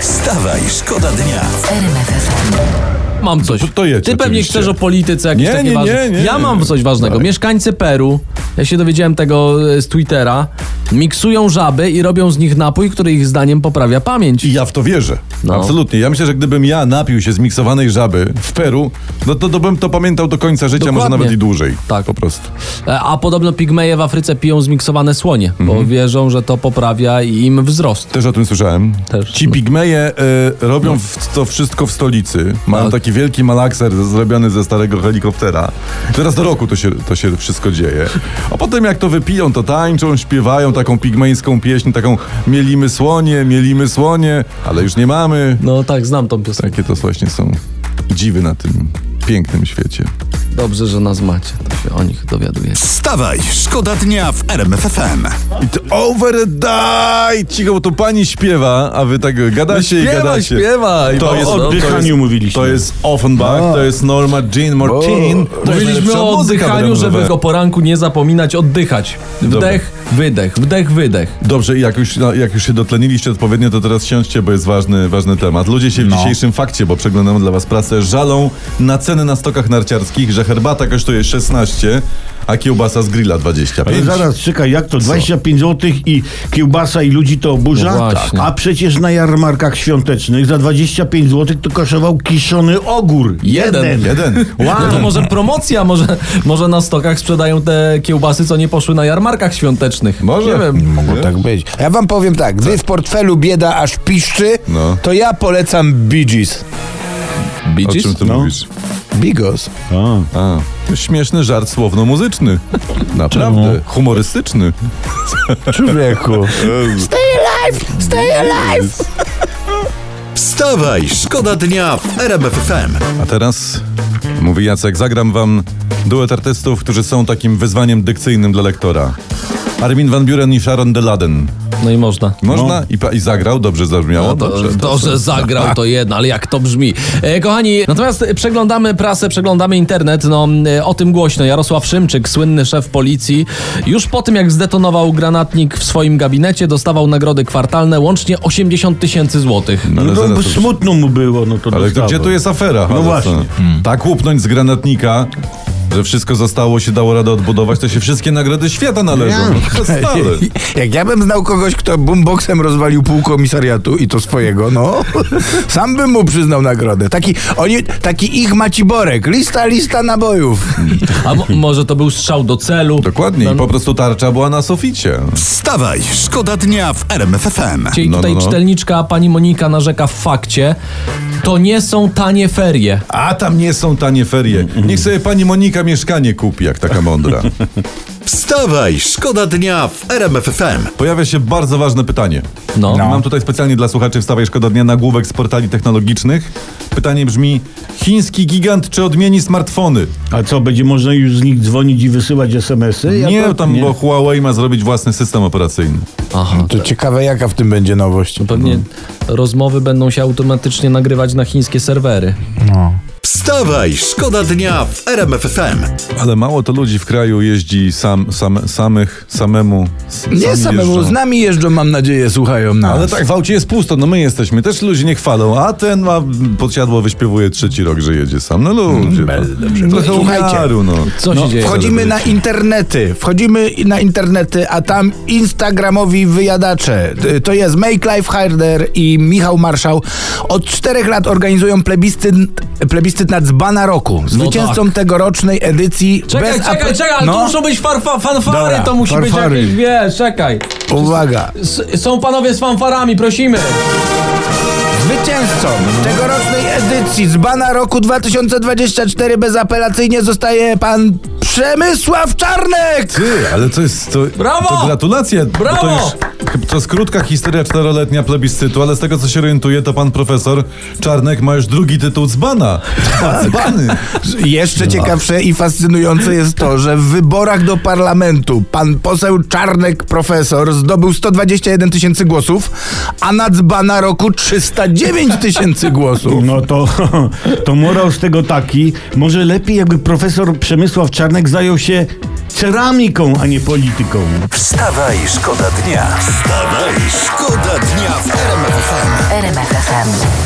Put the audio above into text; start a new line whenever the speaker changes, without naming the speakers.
Wstawaj, szkoda dnia.
Mam coś.
To- to jedź
Ty pewnie
oczywiście.
chcesz o polityce jakieś
Nie,
takie
nie,
ważne.
nie, nie,
ja
nie.
mam coś ważnego.
Dawaj.
Mieszkańcy Peru, ja się dowiedziałem tego e, z Twittera, miksują żaby i robią z nich napój, który ich zdaniem poprawia pamięć.
I ja w to wierzę.
No.
Absolutnie. Ja myślę, że gdybym ja napił się zmiksowanej żaby w Peru, no to, to bym to pamiętał do końca życia,
Dokładnie.
może nawet i dłużej.
Tak.
Po prostu.
E, A podobno pigmeje w Afryce piją zmiksowane słonie,
Mhm.
bo wierzą, że to poprawia im wzrost.
Też o tym słyszałem.
Też. No.
Ci pigmeje y, robią w, to wszystko w stolicy. Mają
Tak.
taki wielki malakser zrobiony ze starego helikoptera. Teraz do roku to się, to się wszystko dzieje. A potem jak to wypiją, to tańczą, śpiewają taką pigmejską pieśń, taką mielimy słonie, mielimy słonie, ale już nie mamy.
No tak, znam tą piosenkę.
Takie to właśnie są dziwy na tym pięknym świecie.
Dobrze, że nas macie, to się o nich dowiaduję.
Wstawaj, szkoda dnia w RMFFM.
I to overdaj! Cicho, bo tu pani śpiewa, a wy tak gadacie i
Śpiewaj,
gadacie.
śpiewaj!
To jest-
no,
to
O oddychaniu mówiliśmy.
To jest Offenbach, to jest Norma Jean Martin. To jest
Mówiliśmy
najlepsza
o
muzyka
oddychaniu,
branżowa.
żeby o poranku nie zapominać oddychać. Wdech, wydech, wdech, wydech.
Dobrze, i jak już, no, jak już się dotleniliście odpowiednio, to teraz siądźcie, bo jest ważny, ważny temat. Ludzie się w
No.
dzisiejszym fakcie, bo przeglądamy dla was prasę, żalą na ceny na stokach narciarskich, że herbata kosztuje 16, a kiełbasa z grilla 25.
Ale zaraz, czekaj, jak to? 25 zł i kiełbasa i ludzi to
No
oburza?
właśnie.
A przecież na jarmarkach świątecznych za 25 zł to kosztował kiszony ogór.
Jeden.
Jeden.
No to
Wow.
może promocja, może, może na stokach sprzedają te kiełbasy, co nie poszły na jarmarkach świątecznych.
Może.
Nie wiem.
Mogło
Tak być. A Ja wam powiem tak, gdy w portfelu bieda aż piszczy,
No.
to ja polecam Bee Gees.
O
Widzisz?
czym ty
No.
mówisz?
Bigos.
A.
A, to śmieszny żart słowno-muzyczny. Naprawdę. Humorystyczny.
Człowieku. Stay alive!
Wstawaj, szkoda dnia w RMFFM.
A teraz, mówi Jacek, zagram wam duet artystów, którzy są takim wyzwaniem dykcyjnym dla lektora. Armin van Buren i Sharon de Laden.
No i można.
Można? I, pa- I zagrał? Dobrze zabrzmiało?
No to,
dobrze.
to, że zagrał to jedno, ale jak to brzmi. E, kochani, natomiast przeglądamy prasę, przeglądamy internet, no e, o tym głośno. Jarosław Szymczyk, słynny szef policji, już po tym jak zdetonował granatnik w swoim gabinecie, dostawał nagrody kwartalne, łącznie 80 000 tysięcy złotych.
No,
No,
ale zaraz
bo
to-
smutno mu było, no to
ale to,
dostawał.
gdzie tu jest afera?
No
Halo, co?
właśnie.
Hmm.
Tak łupnąć z granatnika, że wszystko zostało, się dało radę odbudować, to się wszystkie nagrody świata należą. No, to stale.
Jak ja bym znał kogoś, kto boomboxem rozwalił pół komisariatu i to swojego, no, sam bym mu przyznał nagrodę. Taki, oni, taki ich maciborek. Lista, lista nabojów.
A mo- może to był strzał do celu? No,
Dokładnie. I po prostu tarcza była na suficie.
Wstawaj, szkoda dnia w RMFFM.
Dzisiaj
No,
tutaj
no, no.
czytelniczka pani Monika narzeka w fakcie, to nie są tanie ferie.
A tam nie są tanie ferie. Niech sobie pani Monika mieszkanie kupi, jak taka mądra.
Wstawaj, szkoda dnia w RMFFM.
Pojawia się bardzo ważne pytanie.
No. No.
Mam tutaj specjalnie dla słuchaczy Wstawaj Szkoda Dnia nagłówek z portali technologicznych. Pytanie brzmi, chiński gigant czy odmieni smartfony?
A co, będzie można już z nich dzwonić i wysyłać SMS-y? Ja
nie,
to-
tam bo Huawei ma zrobić własny system operacyjny. No
Aha.
tak.
To no. ciekawe, jaka w tym będzie nowość.
Pewnie rozmowy będą się automatycznie nagrywać na chińskie serwery.
Wstawaj, szkoda dnia w RMFFM.
Ale mało to ludzi w kraju jeździ sam, sam, samych, samemu. s-
Nie
sami
samemu,
jeżdżą.
z nami jeżdżą, mam nadzieję, słuchają nas.
Ale tak, w aucie jest pusto, no my jesteśmy. Też ludzie nie chwalą, a ten ma podsiadło wyśpiewuje trzeci rok, że jedzie sam. No
Mm,
ludzie. no. Trochę
Słuchajcie.
umiaru, no.
Co się dzieje?
Wchodzimy na internety, wchodzimy na internety, a tam Instagramowi wyjadacze. Y, To jest Make Life Harder i Michał Marszał. Od czterech lat organizują plebiscyt, plebiscyt na dzbana roku. Zwycięzcą
tak.
tegorocznej edycji...
Czekaj,
bez
czekaj,
apel-
czekaj, ale to
no,
muszą być farfa, fanfary,
Dobra,
to musi
fanfary.
być jakieś, wiesz, czekaj.
Uwaga.
S- są panowie z fanfarami, prosimy.
Zwycięzcą tegorocznej edycji dzbana roku 2024 bezapelacyjnie zostaje pan Przemysław Czarnek!
Ty, ale to jest. To,
Brawo!
To gratulacje! bo
Brawo!
To, już, to jest krótka historia czteroletnia plebiscytu, ale z tego co się orientuję, to pan profesor Czarnek ma już drugi tytuł dzbana.
Tak.
Dzbany!
Jeszcze ciekawsze i fascynujące jest to, że w wyborach do parlamentu pan poseł Czarnek profesor zdobył 121 tysięcy głosów, a na dzbana roku 309 tysięcy głosów.
No to, to morał z tego taki, może lepiej jakby profesor Przemysław Czarnek zajął się ceramiką, a nie polityką.
Wstawaj, szkoda dnia. Wstawaj, szkoda dnia w
FM.